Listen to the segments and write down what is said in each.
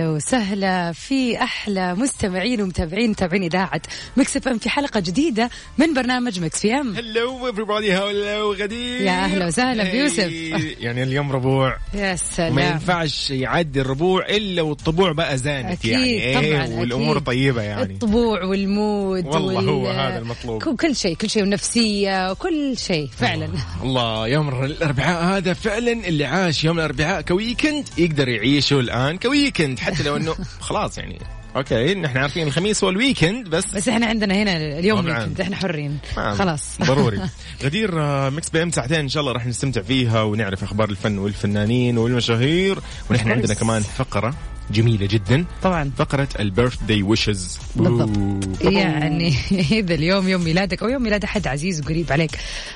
وسهلا في احلى مستمعين ومتابعين متابعين اذاعه مكس اف ام في حلقه جديده من برنامج مكس في ام هلو everybody هلو غدير يا أهلا وسهلا بيوسف. إيه، يعني اليوم ربوع يا ما سلام ينفعش يعدي الربوع الا والطبوع بقى زانت أكيد، يعني إيه، طبعاً، والامور أكيد. طيبه يعني الطبوع والمود والله هو هذا المطلوب. كل- كل شيء كل شيء والنفسيه وكل شيء فعلا الله يوم الاربعاء هذا فعلا اللي عاش يوم الاربعاء كويكند يقدر يعيشه الان كويكند حتى لو انه خلاص يعني اوكي نحن عارفين الخميس هو الويكند بس بس احنا عندنا هنا اليوم طبعاً. ويكند، احنا حرين ما- خلاص نعم. ضروري غدير آه، ميكس بي ام ساعتين ان شاء الله راح نستمتع فيها ونعرف اخبار الفن والفنانين والمشاهير ونحن course. عندنا كمان فقره جميله جدا طبعا فقره البيرث داي ويشز بالضبط يعني اذا اليوم يوم ميلادك او يوم ميلاد احد عزيز وقريب عليك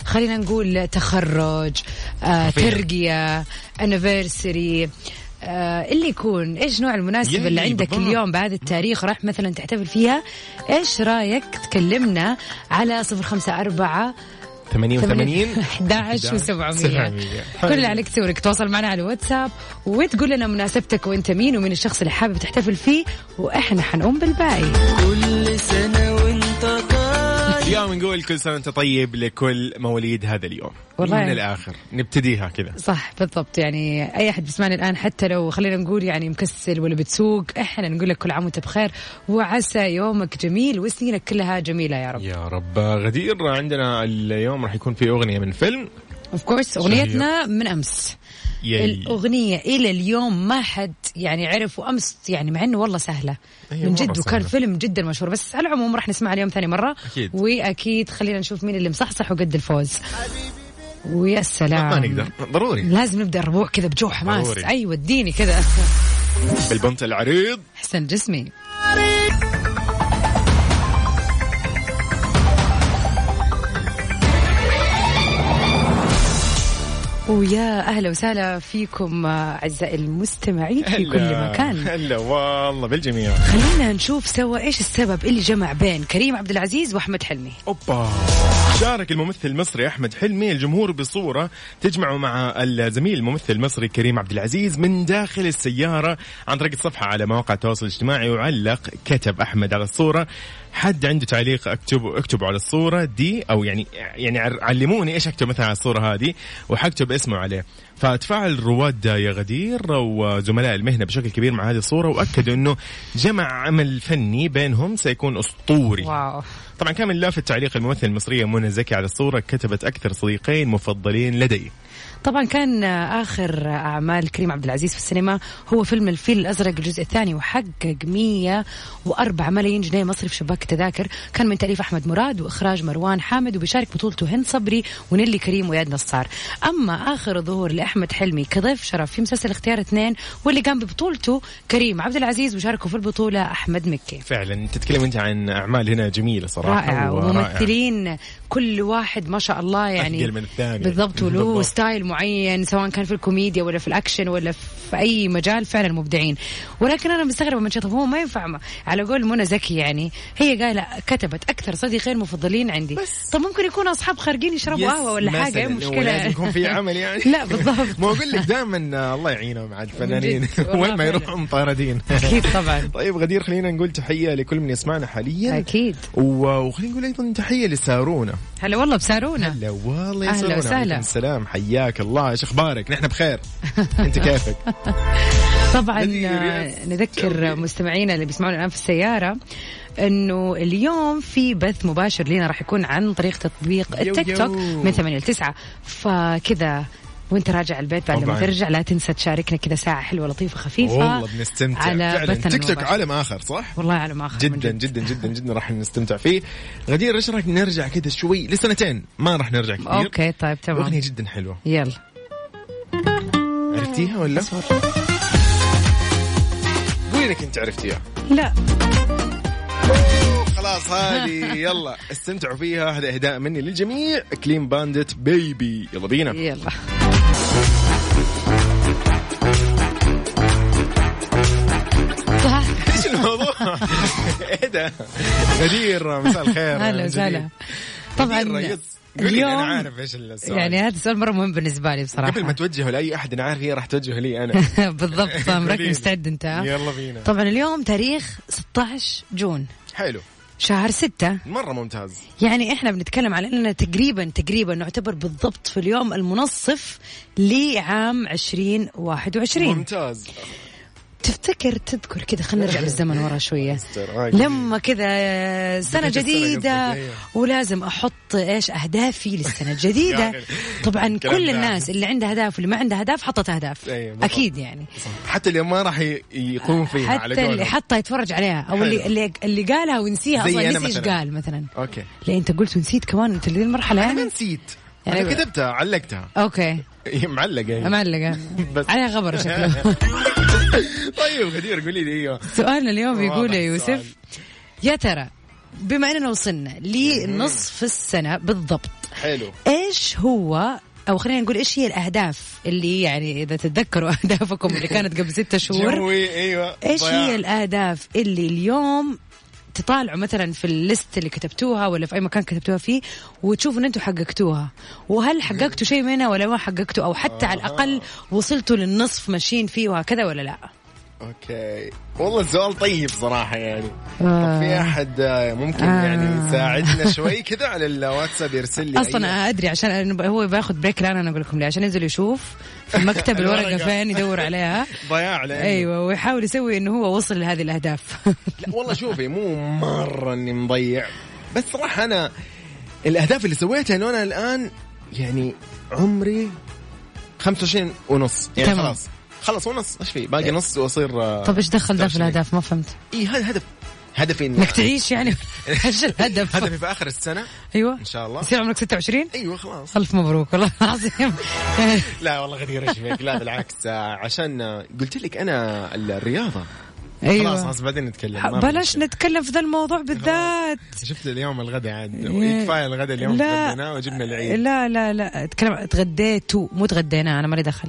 خلينا نقول تخرج آه، حرفياً. ترقيه انيفرساري آه اللي يكون ايش نوع المناسبة يلي اللي عندك بالضبط. اليوم بهذا التاريخ راح مثلا تحتفل فيها ايش رايك تكلمنا على صفر خمسة أربعة 88 11 و 700 كل اللي عليك تسوي انك تتواصل معنا على الواتساب وتقول لنا مناسبتك وانت مين ومين الشخص اللي حابب تحتفل فيه واحنا حنقوم بالباقي كل سنة وانت طالع اليوم نقول كل سنه وانت طيب لكل مواليد هذا اليوم والله. من الاخر نبتديها كذا صح بالضبط يعني اي احد بيسمعنا الان حتى لو خلينا نقول يعني مكسل ولا بتسوق احنا نقول لك كل عام وانت بخير وعسى يومك جميل وسنينك كلها جميله يا رب يا رب غدير عندنا اليوم راح يكون في اغنيه من فيلم اوف كورس اغنيتنا من امس الاغنيه الى اليوم ما حد يعني عرف وامس يعني مع انه والله سهله هي من إيه، مرة جد وكان سهلة. فيلم جدا مشهور بس على العموم راح نسمعها اليوم ثاني مره أكيد. واكيد خلينا نشوف مين اللي مصحصح وقد الفوز ويا سلام ما نقدر ضروري لازم نبدا الربوع كذا بجو حماس ضروري. ايوه اديني كذا بالبنط العريض حسن جسمي ويا اهلا وسهلا فيكم آه، اعزائي المستمعين في كل هلا. مكان هلا والله بالجميع خلينا نشوف سوا ايش السبب اللي جمع بين كريم عبد العزيز واحمد حلمي اوبا شارك الممثل المصري احمد حلمي الجمهور بصوره تجمعه مع الزميل الممثل المصري كريم عبد العزيز من داخل السياره عن طريق الصفحه على مواقع التواصل الاجتماعي وعلق كتب احمد على الصوره حد عنده تعليق اكتبوا اكتبوا على الصوره دي او يعني يعني عر- علموني ايش اكتب مثلا على الصوره هذه وحكتب اسمه عليه فتفاعل رواد يا غدير وزملاء المهنه بشكل كبير مع هذه الصوره واكدوا انه جمع عمل فني بينهم سيكون اسطوري واو طبعا كان من لافت تعليق الممثله المصريه منى زكي على الصوره كتبت اكثر صديقين مفضلين لدي طبعا كان اخر اعمال كريم عبد العزيز في السينما هو فيلم الفيل الازرق الجزء الثاني وحقق 104 ملايين جنيه مصري في شباك التذاكر كان من تاليف احمد مراد واخراج مروان حامد وبيشارك بطولته هند صبري ونيلي كريم وياد نصار اما اخر ظهور لاحمد حلمي كضيف شرف في مسلسل اختيار اثنين واللي قام ببطولته كريم عبد العزيز وشاركوا في البطوله احمد مكي فعلا تتكلم انت عن اعمال هنا جميله صراحه رائعة ورائعة. وممثلين كل واحد ما شاء الله يعني أفقل من الثاني. بالضبط وله بالضبط. ستايل معين سواء كان في الكوميديا ولا في الأكشن ولا في أي مجال فعلا مبدعين ولكن أنا مستغربة من شيء طب هو ما ينفع ما- على قول منى زكي يعني هي قالة كتبت أكثر صديقين مفضلين عندي بس طب ممكن يكونوا أصحاب خارجين يشربوا يس، قهوة ولا مثلاً. حاجة إيه هو لازم المشكلة يكون في عمل يعني لا بالضبط ما اقول لك دائما الله يعينهم على الفنانين من جد، والله وين ما فعلاً. يروحوا مطاردين أكيد طبعا طيب غدير خلينا نقول تحيه لكل من يسمعنا حاليا أكيد و- وخلينا نقول ايضا تحيه لسارونا هلا والله بسارونا هلا والله يا أهلا سارونا وسهلا. عليكم السلام حياك الله ايش اخبارك نحن بخير انت كيفك طبعا نذير، آه، يس. نذكر مستمعينا اللي بيسمعونا الان في السياره انه اليوم في بث مباشر لنا راح يكون عن طريق تطبيق يو التيك توك يو. من 8 ل 9 فكذا وانت راجع البيت بعد ما طبعاً. ترجع لا تنسى تشاركنا كذا ساعه حلوه لطيفه خفيفه والله بنستمتع على فعلا بثنا تيك توك المباشر. عالم اخر صح؟ والله على ما اخر من جدا جدا جدا جدا راح نستمتع فيه غدير ايش رايك نرجع كذا شوي لسنتين ما راح نرجع كثير اوكي طيب اغنيه تمام جدا حلوه يلا عرفتيها ولا؟ قولي لك انت عرفتيها لا خلاص هذه يلا استمتعوا فيها هذا اهداء مني للجميع كلين باندت بيبي يلا بينا يلا صح ايش الموضوع؟ ايه ده؟ إيه غدير مساء الخير هلا من جديد. وسهلا طبعاً كثير ريص. قولي اليوم- انا عارف ايش السؤال يعني هذا السؤال مره مهم بالنسبه لي بصراحه قبل ما توجهه لاي احد انا عارف هي راح توجهه لي انا بالضبط صام قولي لي. ركز مستعد انت ها؟ يلا بينا طبعا اليوم تاريخ 16 جون حلو شهر ستة مره ممتاز يعني احنا بنتكلم على اننا تقريبا تقريبا نعتبر بالضبط في اليوم المنصف لعام 2021 ممتاز تفتكر تذكر كذا خلينا نرجع بالزمن ورا شويه أستر، آه، لما كذا سنة بداية السنة جديدة قصدك، أيوة. ولازم أحط إيش أهدافي للسنة الجديدة يا أخي، طبعا الكلام كل ده. الناس اللي عندها أهداف واللي ما عندها أهداف حطت أهداف أيوة، بالضبط. أكيد يعني حتى اللي ما راح ي- يقوم فيها على حتى اللي قولهم. حطها يتفرج عليها أو اللي حلو. اللي, اللي قالها ونسيها زي أصلا أنا نسي إيش مثلاً. قال مثلا اوكي لا أنت قلت ونسيت كمان أنت لذي المرحلة انا ما يعني نسيت يعني انا ب- كتبتها علقتها أوكي هي معلقه هي. معلقة بس. عليها خبر شكله طيب غدير قولي لي ايوه سؤالنا اليوم واضح يقول يا السؤال. يوسف يا ترى بما أننا وصلنا لنصف السنة بالضبط حلو ايش هو او خلينا نقول ايش هي الاهداف اللي يعني اذا تتذكروا اهدافكم اللي كانت قبل ستة شهور جوي ايوه ايش ضياع. هي الاهداف اللي اليوم تطالعوا مثلا في الليست اللي كتبتوها ولا في اي مكان كتبتوها فيه وتشوفوا ان انتم حققتوها وهل حققتوا شيء منها ولا ما حققتوا او حتى على الاقل آه. وصلتوا للنصف ماشيين فيه وهكذا ولا لا اوكي والله السؤال طيب صراحه يعني آه. طب في احد آه، ممكن آه. يعني يساعدنا شوي كذا على الواتساب يرسل لي اصلا أي- أنا ادري عشان أنا ب- هو باخذ بريك الان انا اقول لكم ليه عشان ينزل يشوف في مكتب الورقه الورقة. فين يدور عليها ضياع لأنه- ايوه ويحاول يسوي انه هو وصل لهذه الاهداف لا والله شوفي مو مره اني مضيع بس صراحه انا الاهداف اللي سويتها انه انا الان يعني عمري 25 ونص يعني تمام. خلاص خلاص ونص ايش في باقي نص واصير آه، طب ايش دخل ده في 26. الاهداف ما فهمت اي هذا هدف هدفي إني- انك تعيش يعني ايش الهدف هدفي في اخر السنه ايوه ان شاء الله يصير عمرك 26 ايوه خلاص الف مبروك والله العظيم لا والله غدير ايش فيك لا بالعكس آه، عشان آه، قلت لك انا الرياضه خلاص ايوه خلاص بعدين نتكلم ما بلاش بنتكلم. نتكلم في ذا الموضوع بالذات شفت اليوم الغداء عاد يا- كفايه الغداء اليوم إيه. لا. غدينا وجبنا العيد لا لا لا تكلم تغديتوا مو تغدينا انا مالي دخل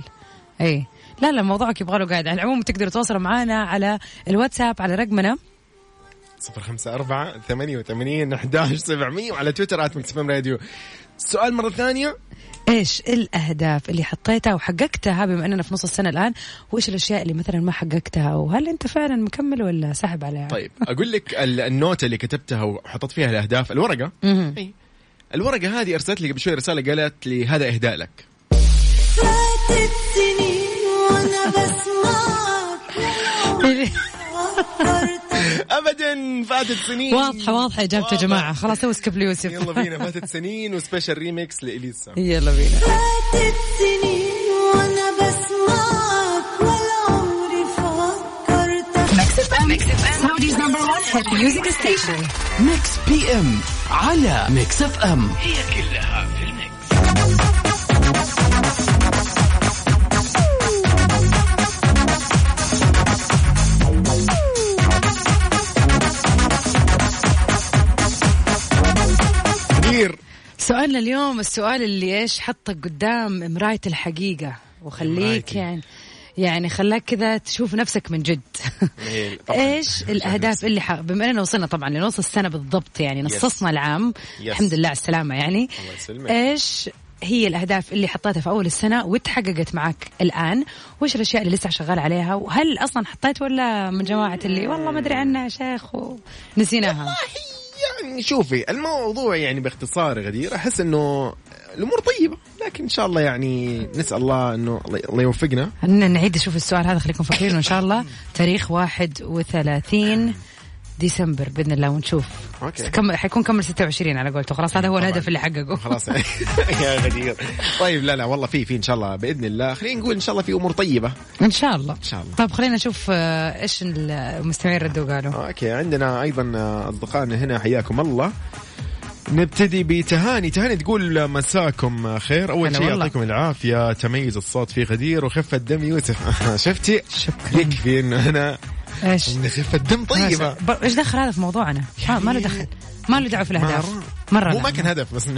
اي لا لا موضوعك يبغى له قاعد على العموم تقدروا تتواصلوا معنا على الواتساب على رقمنا 054 88 11 700 وعلى تويتر ات مكس راديو السؤال مره ثانيه ايش الاهداف اللي حطيتها وحققتها بما اننا في نص السنه الان وايش الاشياء اللي مثلا ما حققتها وهل انت فعلا مكمل ولا ساحب عليها طيب اقول لك ال- النوتة اللي كتبتها وحطت فيها الاهداف الورقه مهم. أي. الورقه هذه ارسلت لي قبل شوي رساله قالت لي هذا اهداء لك فاتت سنين وانا بسمعك ابدا فاتت سنين واضحه واضحه اجابته يا جماعه خلاص سوي سكيب ليوسف يلا بينا فاتت سنين وسبيشال ريميكس لإليسا يلا بينا فاتت سنين وانا بسمعك ولا عمري فكرت ميكس بي ام على ميكس اف ام كبير سؤالنا اليوم السؤال اللي ايش حطك قدام مرايه الحقيقه وخليك مرايتي. يعني يعني خلاك كذا تشوف نفسك من جد إيه، طبعاً. ايش الاهداف اللي ح... بما اننا وصلنا طبعا لنص السنه بالضبط يعني نصصنا العام يس. الحمد لله على السلامه يعني الله يسلمك. ايش هي الاهداف اللي حطيتها في اول السنه وتحققت معك الان وايش الاشياء اللي لسه شغال عليها وهل اصلا حطيت ولا من جماعه اللي والله ما ادري عنها يا شيخ ونسيناها يعني شوفي الموضوع يعني باختصار غدير احس انه الامور طيبه لكن ان شاء الله يعني نسال الله انه الله- الله يوفقنا خلينا نعيد نشوف السؤال هذا خليكم فاكرين ان شاء الله تاريخ 31 ديسمبر باذن الله ونشوف أوكي. كم حيكون كمل 26 على قولته خلاص هذا هو الهدف اللي حققه خلاص يا غدير طيب لا لا والله في في ان شاء الله باذن الله خلينا نقول ان شاء الله في امور طيبه ان شاء الله ان شاء الله. طيب خلينا نشوف آه، ايش المستمعين ردوا قالوا اوكي عندنا ايضا اصدقائنا هنا حياكم الله نبتدي بتهاني تهاني تقول مساكم خير اول هلا شيء والله. يعطيكم العافيه تميز الصوت في غدير وخفه دم يوسف شفتي يكفي انه انا ايش إن خفه الدم طيبه ب- ايش دخل هذا في موضوعنا؟ ما- ما له دخل ما له دعوه في الاهداف مرة. مره مو لا. ما كان هدف بس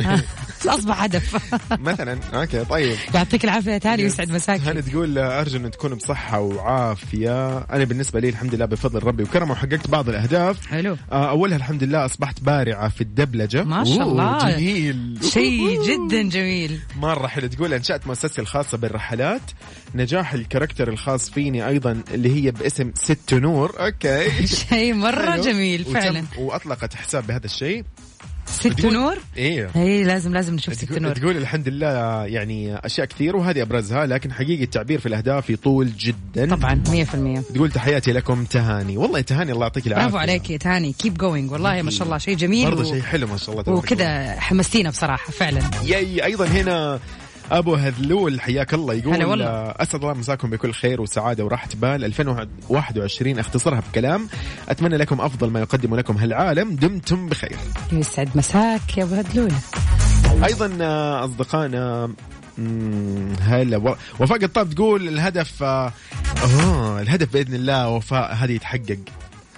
اصبح هدف مثلا اوكي طيب يعطيك العافيه تاني ويسعد هاني مساك تقول ارجو ان تكون بصحه وعافيه انا بالنسبه لي الحمد لله بفضل ربي وكرمه وحققت بعض الاهداف حلو. آه، اولها الحمد لله اصبحت بارعه في الدبلجه ما شاء أوه، الله. جميل شيء جدا جميل مرة حلو تقول أنشأت مؤسستي الخاصة بالرحلات نجاح الكاركتر الخاص فيني أيضا اللي هي باسم ست نور أوكي شيء مره حلو. جميل وتم- فعلا وأطلقت حساب بهذا الشيء ست تقول- نور إيه اي لازم لازم نشوف ست تقول, نور تقول الحمد لله يعني أشياء كثير وهذه أبرزها لكن حقيقة التعبير في الأهداف يطول جدا طبعا 100% تقول تحياتي لكم تهاني والله تهاني الله يعطيك العافية برافو عليك يا تهاني كيب جوينج والله ما شاء الله شيء جميل برضه و... شيء حلو ما شاء الله تبارك الله. وكذا حمستينا بصراحه فعلا ياي أيضا هنا أبو هذلول حياك الله يقول هلا والله. آه، أسعد الله مساكم بكل خير وسعادة وراحة بال 2021 اختصرها بكلام أتمنى لكم أفضل ما يقدم لكم هالعالم دمتم بخير يسعد مساك يا ابو هدلول ايضا آه، اصدقائنا مم، هلا و- وفاء الطب تقول الهدف آه، اوه الهدف باذن الله وفاء هذه يتحقق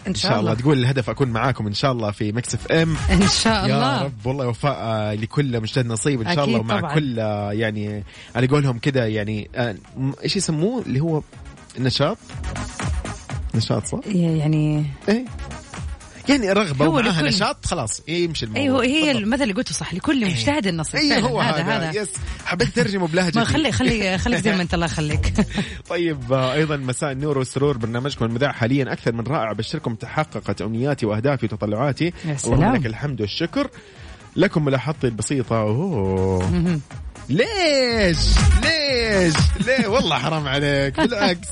ان شاء الله تقول الهدف اكون معاكم ان شاء الله في مكس اف ام ان شاء يا الله رب والله وفاء آه، لكل مجتهد نصيب ان شاء أكيد الله ومع طبعاً. كل آه، يعني على قولهم كذا يعني آه، م- ايش يسموه اللي هو نشاط نشاط صح؟ يعني ايه يعني رغبه هو ومعاها لكل- نشاط خلاص يمشي الموضوع ايوه هي بالضبط. المثل اللي قلته صح لكل مجتهد النصيب ايوه فعلاً، هو هذا, هذا يس حبيت ترجمه بلهجتي ما خلي خلي خليك زي ما انت الله يخليك طيب آه، ايضا مساء النور والسرور برنامجكم المذاع حاليا اكثر من رائع بشركم تحققت امنياتي واهدافي وتطلعاتي يا سلام. اللهم لك الحمد والشكر لكم ملاحظتي البسيطة أوه. مهم. ليش ليش ليه والله حرام عليك بالعكس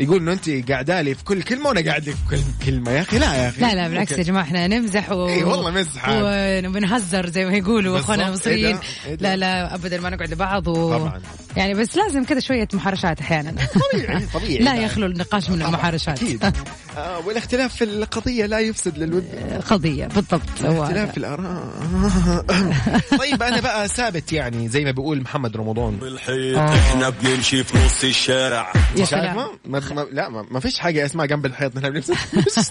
يقول انه انت قاعده لي في كل كلمه وانا قاعد لك في كل كلمه يا اخي لا يا اخي لا لا بالعكس يا أوكي. جماعه احنا نمزح و... إي والله مزح عاد. وبنهزر زي ما يقولوا بالضبط. اخواننا إيه ده؟ المصريين إيه ده؟ لا لا ابدا ما نقعد لبعض و... طبعاً. يعني بس لازم كذا شويه محارشات احيانا طبيعي طبيعي لا يخلو النقاش من طبعاً، المحارشات اكيد آه والاختلاف في القضيه لا يفسد للود قضيه بالضبط هو اختلاف الاراء طيب انا بقى ثابت يعني زي ما بيقول محمد رمضان بالحيط احنا بنمشي في نص الشارع يا شايف سلام ما, ما, ما لا ما, ما فيش حاجه اسمها جنب الحيط نحن بنفس لو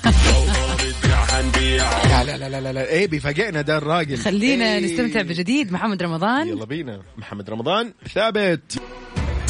ما بتبيع هنبيع لا لا لا لا, لا, لا. ايه بيفاجئنا ده الراجل خلينا إيه. نستمتع بجديد محمد رمضان يلا بينا محمد رمضان ثابت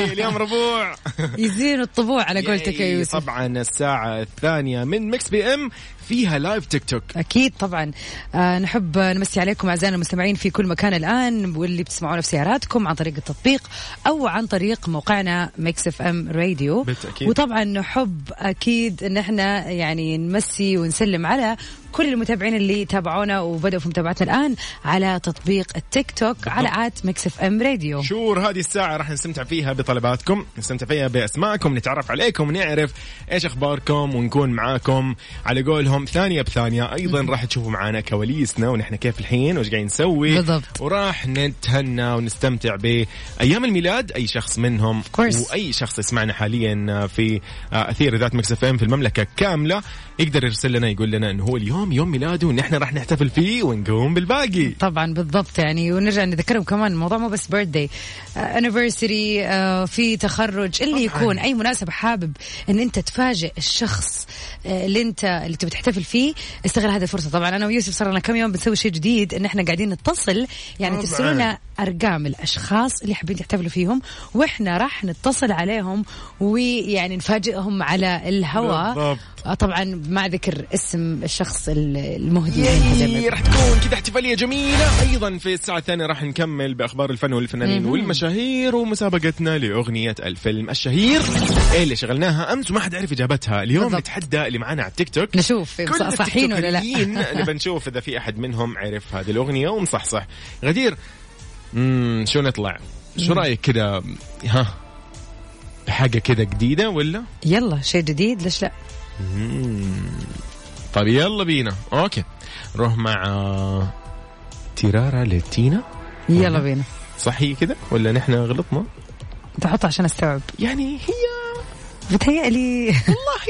اليوم ربوع يزين الطبوع على قولتك يا ياي. يوسف طبعا الساعه الثانيه من مكس بي ام فيها لايف تيك توك أكيد طبعا آه نحب نمسي عليكم أعزائنا المستمعين في كل مكان الآن واللي بتسمعونا في سياراتكم عن طريق التطبيق أو عن طريق موقعنا ميكس اف ام راديو بالتأكيد. وطبعا نحب أكيد إن احنا يعني نمسي ونسلم على كل المتابعين اللي تابعونا وبدأوا في متابعتنا الآن على تطبيق التيك توك على آت ميكس اف ام راديو شور هذه الساعة راح نستمتع فيها بطلباتكم نستمتع فيها بأسماءكم نتعرف عليكم نعرف إيش أخباركم ونكون معاكم على قولهم ثانية بثانية أيضا راح تشوفوا معانا كواليسنا ونحن كيف الحين وإيش قاعدين نسوي بالضبط. وراح نتهنى ونستمتع بأيام الميلاد أي شخص منهم course. وأي شخص يسمعنا حاليا في آه، أثير ذات مكس اف ام في المملكة كاملة يقدر يرسل لنا يقول لنا إنه هو اليوم يوم ميلاده ونحن راح نحتفل فيه ونقوم بالباقي طبعا بالضبط يعني ونرجع نذكرهم كمان الموضوع مو بس بيرثدي انيفرساري آه، في تخرج اللي يكون اي مناسبه حابب ان انت تفاجئ الشخص آه، اللي انت اللي تبي تحتفل فيه استغل هذه الفرصه طبعا انا ويوسف صار لنا كم يوم بنسوي شيء جديد ان احنا قاعدين نتصل يعني طبعاً. ترسلونا ارقام الاشخاص اللي حابين تحتفلوا فيهم واحنا راح نتصل عليهم ويعني نفاجئهم على الهواء بالضبط. آه، طبعا مع ذكر اسم الشخص المهدي يعني المتدرب. ياي راح تكون كذا احتفاليه جميله ايضا في الساعه الثانيه راح نكمل باخبار الفن والفنانين والمشاهير ومسابقتنا لاغنيه الفيلم الشهير اللي شغلناها امس وما حد عرف اجابتها اليوم بالضبط. نتحدى اللي معانا على التيك توك نشوف كل صحين ولا لا التيك نبى نشوف اذا في احد منهم عرف هذه الاغنيه ومصحصح غدير امم شو نطلع شو رايك كذا ها بحاجه كذا جديده ولا يلا شيء جديد ليش لا طيب يلا بينا اوكي نروح مع تيرارا لتينا يلا بينا صح هي كده ولا نحن غلطنا تحط عشان استوعب يعني هي بتهيألي والله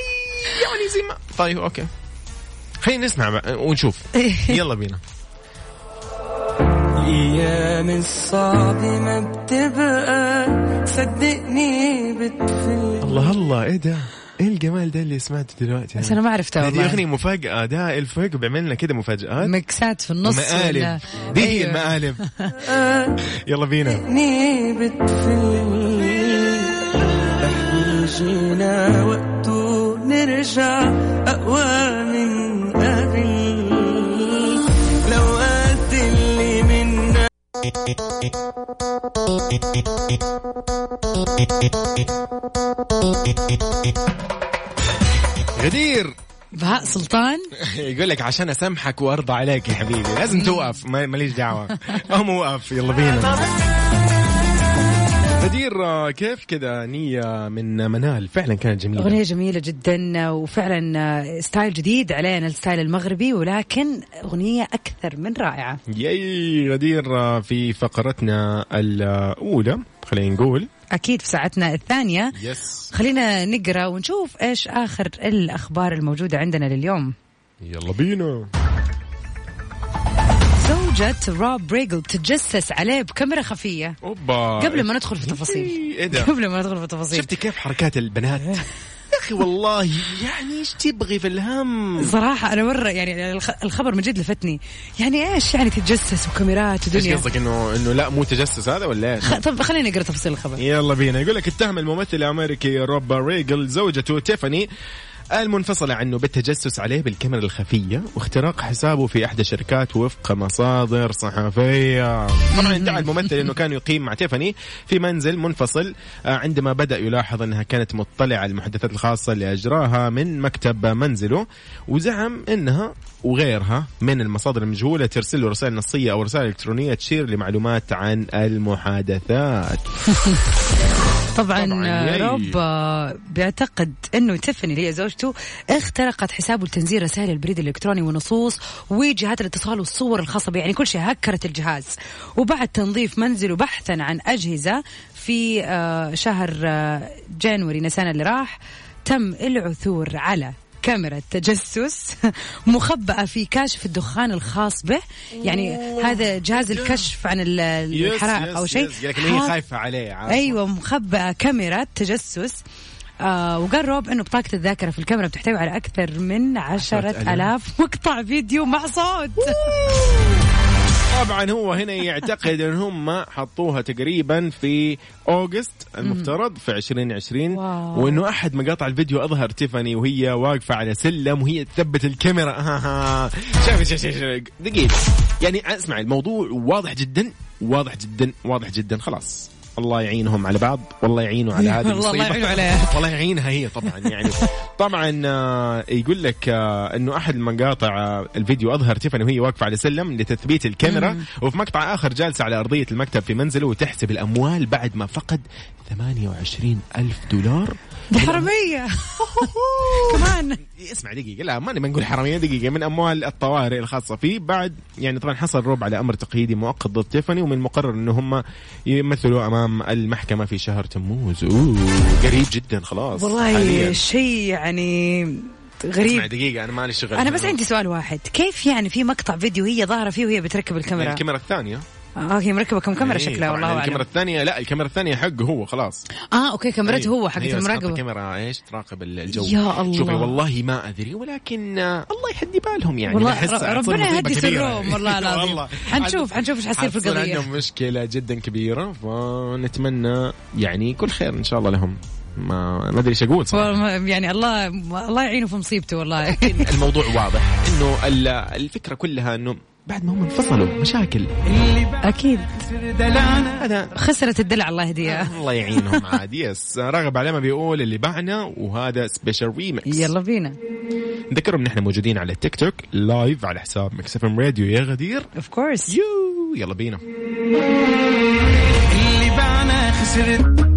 يعني زي ما طيب اوكي خلينا نسمع بقى ونشوف يلا بينا ايام الصعب ما بتبقى صدقني بتفل الله الله ايه ده؟ ايه الجمال ده اللي سمعته دلوقتي؟ بس انا ما عرفتها دي والله اغنية مفاجأة ده الفوق بيعمل لنا كده مفاجآت مكسات في النص ولا- ومقالب دي هي أيوة. المقالب يلا بينا صدقني بتفل رح يجينا وقته نرجع اقوى من قبل لو قد اللي منا غدير بهاء سلطان يقول لك عشان اسامحك وارضى عليك يا حبيبي لازم توقف ما- ماليش دعوه قوم وقف يلا بينا غدير آه، كيف كذا نية من منال فعلا كانت جميلة أغنية جميلة جدا وفعلا ستايل جديد علينا الستايل المغربي ولكن أغنية أكثر من رائعة ياي غدير في فقرتنا الأولى خلينا نقول أكيد في ساعتنا الثانية يس خلينا نقرأ ونشوف إيش آخر الأخبار الموجودة عندنا لليوم يلا بينا زوجة روب بريجل تتجسس عليه بكاميرا خفية اوبا قبل ما ندخل في تفاصيل إيه ده؟ قبل ما ندخل في تفاصيل شفتي كيف حركات البنات إيه. يا اخي والله يعني ايش تبغي في الهم صراحة أنا مرة يعني الخ- الخبر من جد لفتني يعني إيش يعني تتجسس وكاميرات ايش ودنيا قصدك انه انه لا مو تجسس هذا ولا ايش؟ خ- طب خلينا نقرأ تفاصيل الخبر يلا بينا يقول لك اتهم الممثل الامريكي روب ريجل زوجته تيفاني المنفصلة عنه بالتجسس عليه بالكاميرا الخفية واختراق حسابه في إحدى الشركات وفق مصادر صحفية طبعا ادعى الممثل أنه كان يقيم مع تيفاني في منزل منفصل آه، عندما بدأ يلاحظ أنها كانت مطلعة على المحادثات الخاصة اللي أجراها من مكتب منزله وزعم أنها وغيرها من المصادر المجهولة ترسل له رسائل نصية أو رسائل إلكترونية تشير لمعلومات عن المحادثات طبعا, طبعاً، آه، ياي. روب آه، بيعتقد انه تيفاني اللي هي زوجته اخترقت حسابه لتنزيل رسائل البريد الالكتروني ونصوص وجهات الاتصال والصور الخاصه به يعني كل شيء هكرت الجهاز وبعد تنظيف منزله بحثا عن اجهزه في آه، شهر آه، جانوري نيسان اللي راح تم العثور على كاميرا تجسس مخبأة في كاشف الدخان الخاص به يعني هذا جهاز الكشف عن ال- الحرائق أو شيء يس. لكن يعني هي حاط- خايفه عليه عارفة. ايوه مخبأة كاميرا تجسس آه وقال روب انه بطاقة الذاكرة في الكاميرا بتحتوي على أكثر من عشرة ألاف مقطع فيديو مع صوت طبعا هو هنا يعتقد ان هم حطوها تقريبا في اوغست المفترض في 2020 واو. وانه احد مقاطع الفيديو اظهر تيفاني وهي واقفه على سلم وهي تثبت الكاميرا آه. شوف شوف شوف شوف. دقيقه يعني اسمع الموضوع واضح جدا واضح جدا واضح جدا خلاص الله يعينهم على بعض والله يعينه على هذه والله المصيبه يعينه عليها. والله يعينها هي طبعا يعني طبعا آه، يقول لك آه، انه احد المقاطع آه، الفيديو اظهر تيفاني وهي واقفه على سلم لتثبيت الكاميرا وفي مقطع اخر جالسه على ارضيه المكتب في منزله وتحسب الاموال بعد ما فقد 28 الف دولار دي حرامية كمان اسمع دقيقه لا ما نبي نقول حراميه دقيقه من اموال الطوارئ الخاصه فيه بعد يعني طبعا حصل روب على امر تقييدي مؤقت ضد تيفاني ومن المقرر ان هم يمثلوا امام المحكمه في شهر تموز اوه قريب جدا خلاص والله حالياً. شيء يعني اسمع غريب دقيقه انا مالي شغل يعني أنا بس عندي سؤال واحد كيف يعني في مقطع فيديو هي ظاهرة فيه وهي بتركب الكاميرا الكاميرا الثانيه آه هي مركبة كم كاميرا يعني إيه، شكلها طبعاً والله أعلم الكاميرا الثانيه لا الكاميرا الثانيه حقه هو خلاص آه أوكي كاميرته هو حقت أيوة، بس حط المراقبة الكاميرا ايش تراقب الجو يا الله. شوفي والله ما ادري ولكن آه، الله يهدي بالهم يعني والله أحس ر- حتصير ربنا مصيبة يهدي كبيرة. سرهم والله العظيم. حنشوف- حنشوف إيش حيصير في حتصير القضية. عندهم مشكله جدا كبيره فنتمنى يعني كل خير ان شاء الله لهم ما ما ادري ايش اقول صراحه والله يعني الله الله يعينه في مصيبته والله الموضوع واضح انه ال- الفكره كلها انه بعد ما هم انفصلوا مشاكل اكيد هذا خسرت الدلع الله يهديها الله يعينهم عاد يس رغب علامه بيقول اللي بعنا وهذا سبيشال ريمكس يلا بينا نذكرهم ان احنا موجودين على التيك توك لايف على حساب مكس اف ام راديو يا غدير اوف كورس يو يلا بينا اللي بعنا خسرت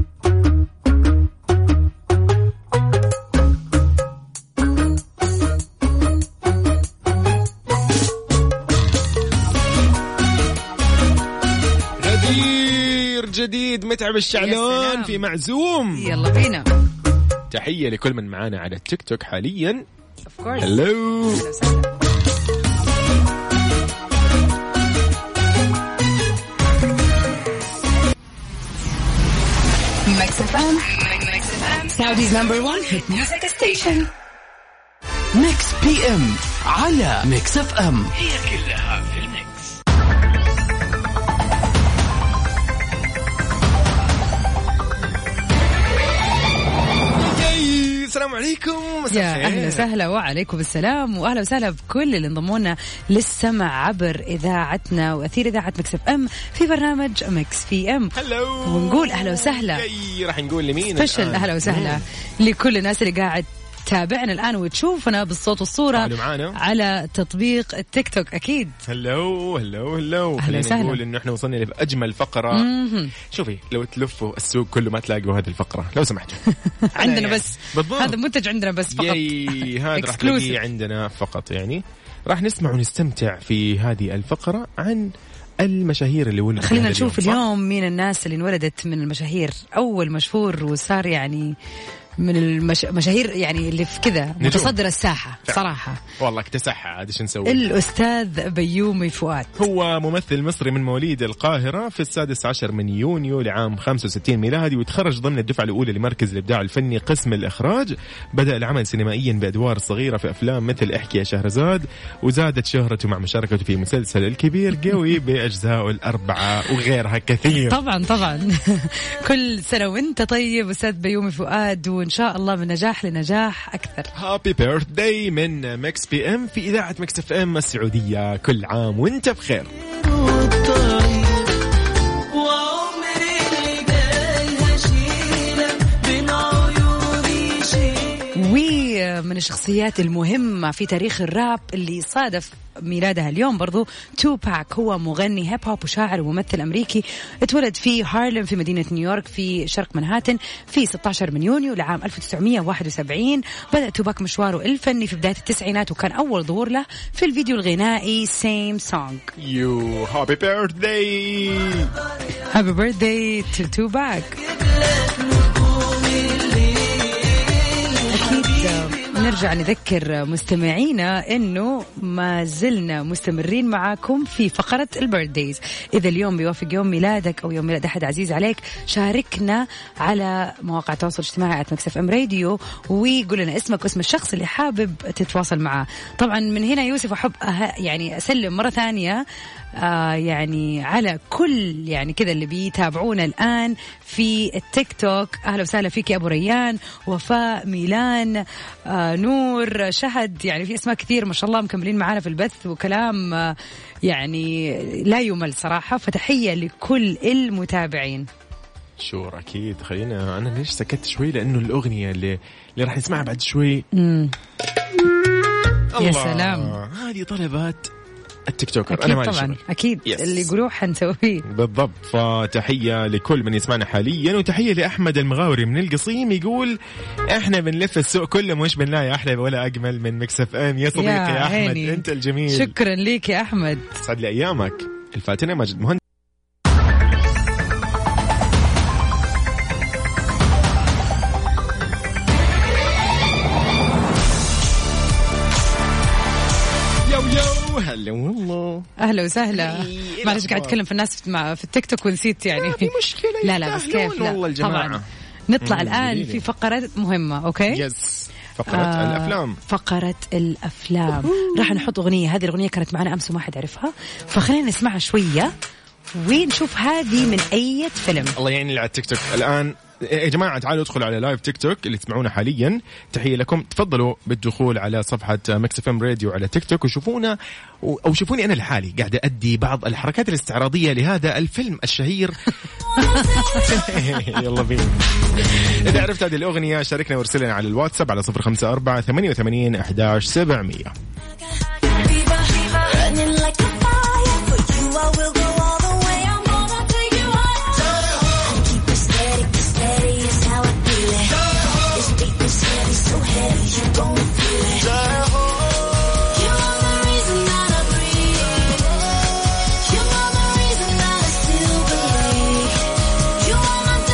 غدير جديد متى يتعب الشعلون سلام. في معزوم يلا بينا تحية لكل من معانا على التيك توك حاليا اوف كورس هلو Mix FM. Mix FM. Saudi's number one hit Music station. ميكس بي ام على ميكس اف ام ياي، السلام عليكم مساء يا الخير. اهلا وسهلا وعليكم السلام واهلا وسهلا بكل اللي انضمونا للسمع عبر اذاعتنا واثير اذاعه مكس اف ام في برنامج مكس في ام هلو ونقول أهلا وسهلا. ياي، راح نقول لمين فشل الآن؟ اهلا وسهلا نعم. لكل الناس اللي قاعد تتابعنا الان وتشوفنا بالصوت والصوره تعالوا معانا. على تطبيق التيك توك اكيد هلو هلو هلو أهلا خلينا وسهلا. نقول انه احنا وصلنا لاجمل فقره مهم. شوفي لو تلفوا السوق كله ما تلاقوا هذه الفقره لو سمحتوا عندنا يعني. بس بالضبط. هذا منتج عندنا بس فقط ياي هذا راح Exclusive. تلاقيه عندنا فقط يعني راح نسمع ونستمتع في هذه الفقره عن المشاهير اللي ولدوا خلينا هذا نشوف صح؟ اليوم مين الناس اللي انولدت من المشاهير اول مشهور وصار يعني من المشاهير يعني اللي في كذا متصدر الساحه صراحه والله اكتسحها عاد ايش نسوي الاستاذ بيومي فؤاد هو ممثل مصري من مواليد القاهرة في السادس عشر من يونيو لعام 65 ميلادي وتخرج ضمن الدفعة الأولى لمركز الإبداع الفني قسم الإخراج بدأ العمل سينمائيا بأدوار صغيرة في أفلام مثل احكي يا شهرزاد وزادت شهرته مع مشاركته في مسلسل الكبير قوي بأجزائه الأربعة وغيرها كثير طبعا طبعا كل سنه وانت طيب استاذ بيومي فؤاد وان شاء الله من نجاح لنجاح اكثر هابي بيرث داي من مكس بي ام في إذاعة مكس اف ام السعودية كل عام وانت بخير وعمري اللي جاي هشيلك بين عيوني شيلك ومن الشخصيات المهمة في تاريخ الراب اللي صادف ميلادها اليوم برضو تو باك هو مغني هيب هوب وشاعر وممثل أمريكي اتولد في هارلم في مدينة نيويورك في شرق منهاتن في 16 من يونيو لعام 1971 بدأ توباك مشواره الفني في بداية التسعينات وكان أول ظهور له في الفيديو الغنائي سيم سونج يو هابي بيرث داي هابي بيرثداي تو تو باك أكيد نرجع نذكر مستمعينا انه ما زلنا مستمرين معاكم في فقره البيرثدايز، اذا اليوم بيوافق يوم ميلادك او يوم ميلاد احد عزيز عليك شاركنا على مواقع التواصل الاجتماعي @مكسف ام راديو وقول لنا اسمك واسم الشخص اللي حابب تتواصل معاه، طبعا من هنا يوسف احب أه يعني اسلم مره ثانيه آه يعني على كل يعني كذا اللي بيتابعونا الان في التيك توك اهلا وسهلا فيك يا ابو ريان وفاء ميلان آه نور شهد يعني في اسماء كثير ما شاء الله مكملين معانا في البث وكلام آه يعني لا يمل صراحه فتحيه لكل المتابعين شور اكيد خلينا انا ليش سكت شوي لانه الاغنيه اللي اللي راح نسمعها بعد شوي يا سلام هذه طلبات التيك توكر انا اكيد ما طبعا طبعا اكيد Yes. اللي يقولوه حنسويه بالضبط فتحية لكل من يسمعنا حاليا وتحية لأحمد المغاوري من القصيم يقول احنا بنلف السوق كله مش بنلاقي أحلى ولا أجمل من مكسف ام يا صديقي يا, أحمد عيني. أنت الجميل شكرا ليك يا احمد سعد لي أيامك الفاتنة ماجد مهندس يو يو هلا والله اهلا وسهلا إيه، معلش قاعد اتكلم في الناس مع- في التيك توك ونسيت يعني ما في مشكلة، لا لا بس يستاهلون كيف لا والله الجماعة. طبعا نطلع مم، الان جميلة. في فقره مهمه اوكي يس فقرة إيه؟ آه، الأفلام فقرة الأفلام راح نحط أغنية هذه الأغنية كانت معنا أمس وما حد عرفها فخلينا نسمعها شوية ونشوف هذه من أي فيلم الله يعين اللي على التيك توك الآن يا جماعة تعالوا ادخلوا على لايف تيك توك اللي تسمعونا حاليا تحية لكم تفضلوا بالدخول على صفحة مكس اف ام راديو على تيك توك وشوفونا أو شوفوني أنا لحالي قاعد أدي بعض الحركات الاستعراضية لهذا الفيلم الشهير يلا بينا إذا عرفت هذه الأغنية شاركنا وارسل لنا على الواتساب على 054 88 11 700 Running like a fire for you, I will go all the way. I'm gonna take you higher. I keep it steady, steady is how I feel it. This beat is heavy, so heavy you gon' feel it. You are the reason that I breathe. You are the reason that I still believe. You are my oh, oh,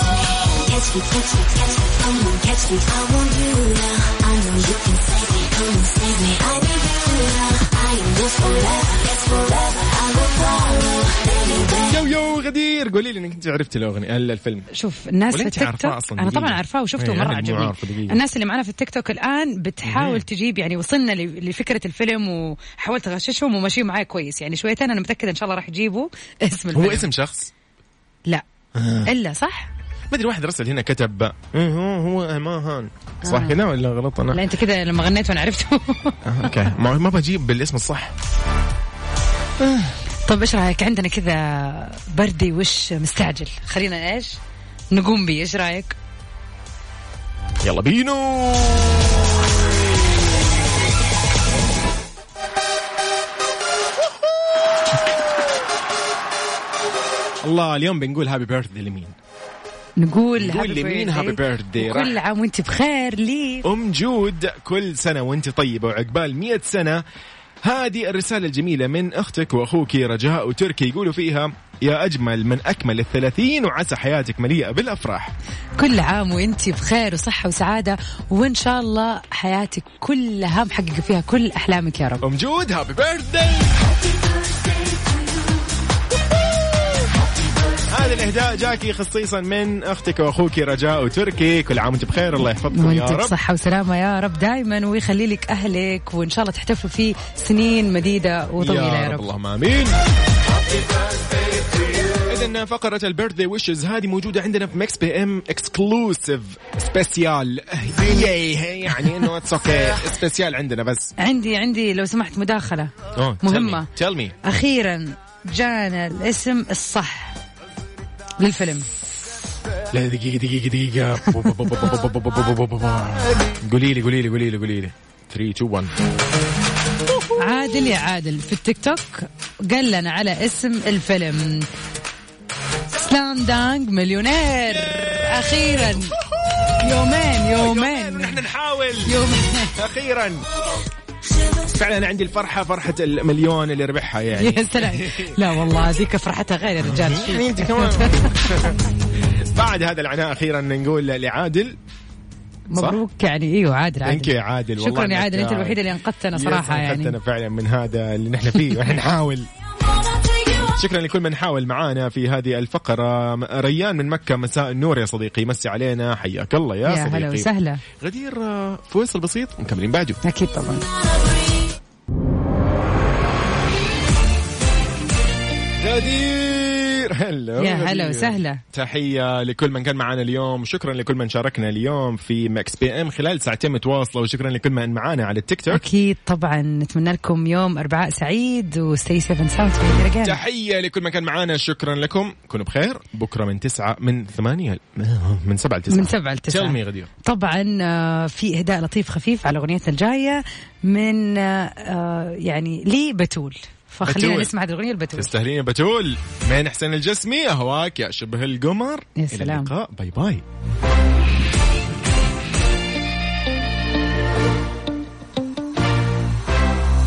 Catch me, catch me, come on, catch me. I want you now. I know you can save me. Come and save me. I need you now. I am yours forever. Yes, forever. I will follow. Baby, baby. يو يو غدير قولي لي انك انت عرفتي الاغنيه الفيلم شوف الناس ولا في أنت التيك عارفاه توك أصلاً انا طبعا دقيقة؟ عارفاه وشفته إيه، مره أنا اللي مو عجبني عارفه دقيقة. إيه. الناس اللي معنا في التيك توك الان بتحاول تجيب يعني وصلنا ل- لفكره الفيلم وحاولت اغششهم وماشيين معاي كويس يعني شويتين انا متاكده ان شاء الله راح يجيبوا اسم الفيلم هو اسم آه. شخص لا الا صح ما ادري واحد رسل هنا كتب إيه هو هو ما هان صح هنا ولا غلط لا انا؟ انت كذا لما غنيت وانا عرفته آه، اوكي ما ما بجيب بالاسم الصح طب ايش رايك عندنا كذا بردي وش مستعجل خلينا ايش نقوم بي ايش رايك يلا بينو الله اليوم بنقول هابي بيرثدي لمين؟ نقول نقول لمين هابي بيرثدي كل عام وانت بخير لي ام جود كل سنه وانت طيبه وعقبال 100 سنه هذه الرسالة الجميلة من أختك وأخوك رجاء وتركي يقولوا فيها يا أجمل من أكمل الثلاثين وعسى حياتك مليئة بالأفراح كل عام وانت بخير وصحة وسعادة وان شاء الله حياتك كلها محقق فيها كل احلامك يا رب أم جود هابي بيرثداي هذا الإهداء جاكي خصيصا من أختك وأخوك رجاء وتركي كل عام وأنت بخير الله يحفظكم يا وانت رب بصحة وسلامة يا رب دائما ويخلي لك اهلك وان شاء الله تحتفلوا فيه سنين مديدة وطويلة يا رب اللهم امين إذا فقرة البيرثدي ويشز هذه موجودة عندنا في مكس بي ام اكسكلوسيف سبيسيال يعني انه اتس اوكي سبيسيال عندنا بس عندي عندي لو سمحت مداخلة أوه، Oh, tell مهمة me, tell me. أخيرا جانا الاسم الصح للفيلم لا دقيقة دقيقة دقيقة قولي لي قولي لي قولي لي قولي لي 3 2 1 عادل يا عادل في التيك توك قال لنا على اسم الفيلم سلام دانج مليونير أخيرا يومين يومين نحن نحاول يومين اخيرا فعلا عندي الفرحة فرحة المليون اللي ربحها يعني يا سلام لا والله هذيك فرحتها غير يا رجال يعني انت كمان بعد هذا العناء اخيرا نقول لعادل مبروك يعني ايوه عادل عادل ثانك يا عادل والله شكرا يا إنك- عادل انت الوحيد اللي انقذتنا يس، صراحه انقذتنا يعني فعلا من هذا اللي نحن فيه ونحن نحاول Wanna take you on. شكرا لكل من حاول معانا في هذه الفقره م- ريان من مكه مساء النور يا صديقي مسي علينا حياك الله يا, يا هلا صديقي وسهلا غدير آه، فويصل بسيط مكملين بعده اكيد طبعا غدير هلا يا هلا غدير. وسهلا. تحية لكل من كان معانا اليوم شكرا لكل من شاركنا اليوم في مكس بي ام خلال ساعتين متواصلة وشكرا لكل من معانا على التيك توك اكيد طبعا نتمنى لكم يوم اربعاء سعيد وستي سيفن ساوند تحية لكل من كان معانا شكرا لكم كونوا بخير بكرة من تسعة من ثمانية من سبعة لتسعة من سبعة لتسعة. تلمي غدير طبعا آه، في اهداء لطيف خفيف على اغنيتنا الجاية من آه، آه، يعني لي بتول فخلينا بتول. نسمع هذه الاغنية البتول تستاهلين يا بتول من حسين الجسمي أهواك يا شبه القمر يا سلام. إلى اللقاء باي باي